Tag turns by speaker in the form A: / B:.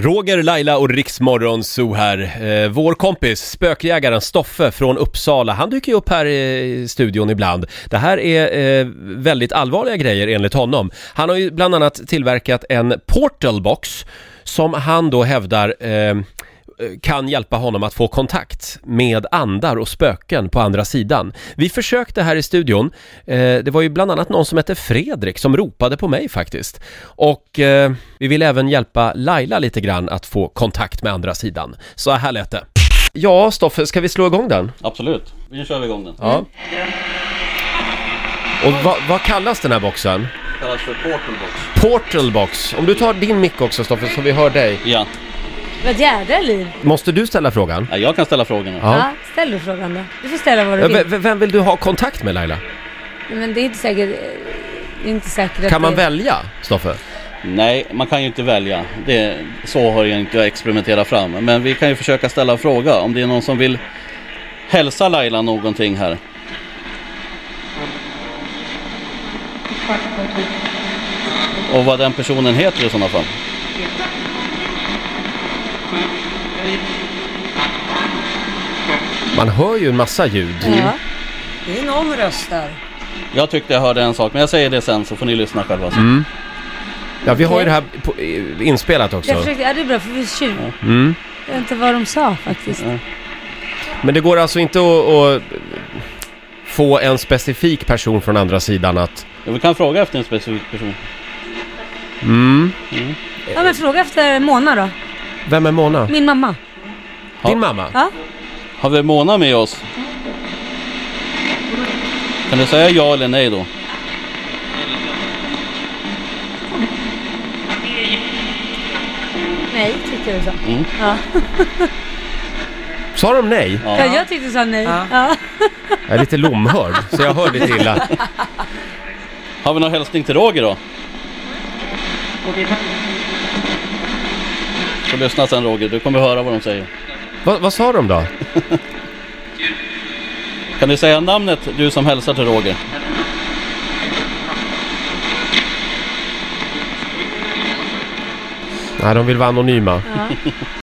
A: Roger, Laila och Riksmorgon Zoo här. Eh, vår kompis, spökjägaren Stoffe från Uppsala, han dyker ju upp här i studion ibland. Det här är eh, väldigt allvarliga grejer enligt honom. Han har ju bland annat tillverkat en portalbox som han då hävdar eh, kan hjälpa honom att få kontakt med andar och spöken på andra sidan. Vi försökte här i studion, eh, det var ju bland annat någon som hette Fredrik som ropade på mig faktiskt. Och eh, vi vill även hjälpa Laila lite grann att få kontakt med andra sidan. Så här lät det. Ja, Stoffe, ska vi slå igång den?
B: Absolut, nu kör vi igång den.
A: Ja. Och vad, vad kallas den här boxen?
B: Kallas för portalbox.
A: Portalbox. Om du tar din mick också Stoffe, så vi hör dig.
B: Ja.
C: Vad jädra liv!
A: Måste du ställa frågan?
B: ja, jag kan ställa frågorna.
A: Ja.
C: Ja. ställ du frågan då. Du får ställa vad du
A: Eh,
C: vill.
A: v- v- Vem vill du ha kontakt med Laila?
C: Nej, Men det är inte säkert... Det är inte säkert
A: Kan
C: att
A: man
C: det...
A: välja, Stoffe?
B: Nej, man kan ju inte välja. Det, så har jag inte experimenterat fram. Men vi kan ju försöka ställa en fråga om det är någon som vill hälsa Laila någonting här. Och vad den personen heter i sådana fall.
A: Man hör ju en massa ljud.
C: Ja. Det är någon röst där.
B: Jag tyckte jag hörde en sak, men jag säger det sen så får ni lyssna själva. sen.
A: Ja, vi har ju det här på, i- inspelat
C: Jag
A: också.
C: försökte... Ja, det är bra för vi tjuv...
A: Mm.
C: Jag vet inte vad de sa faktiskt.
B: Ja.
A: Men det går alltså inte att, att få en specifik person från andra sidan att...
B: Ja, Vi kan fråga efter en specifik person.
A: Mm.
C: Ja, men fråga efter Mona då.
A: Vem är Mona?
C: Min mamma.
A: Din mamma?
C: Ja.
B: Har vi Mona med oss? Kan du säga ja eller nej då?
C: Nej, tyckte du så.
B: Mm.
C: Ja.
A: Sa de nej?
C: Ja, jag tyckte du sa nej. Ja.
A: Jag är lite lomhörd, så jag hör lite illa.
B: Har vi någon hälsning till Roger då? Så lyssna sen Roger, du kommer höra vad de säger.
A: Va, vad sa de då?
B: Kan du säga namnet du som hälsar till Roger?
A: Nej, de vill vara anonyma.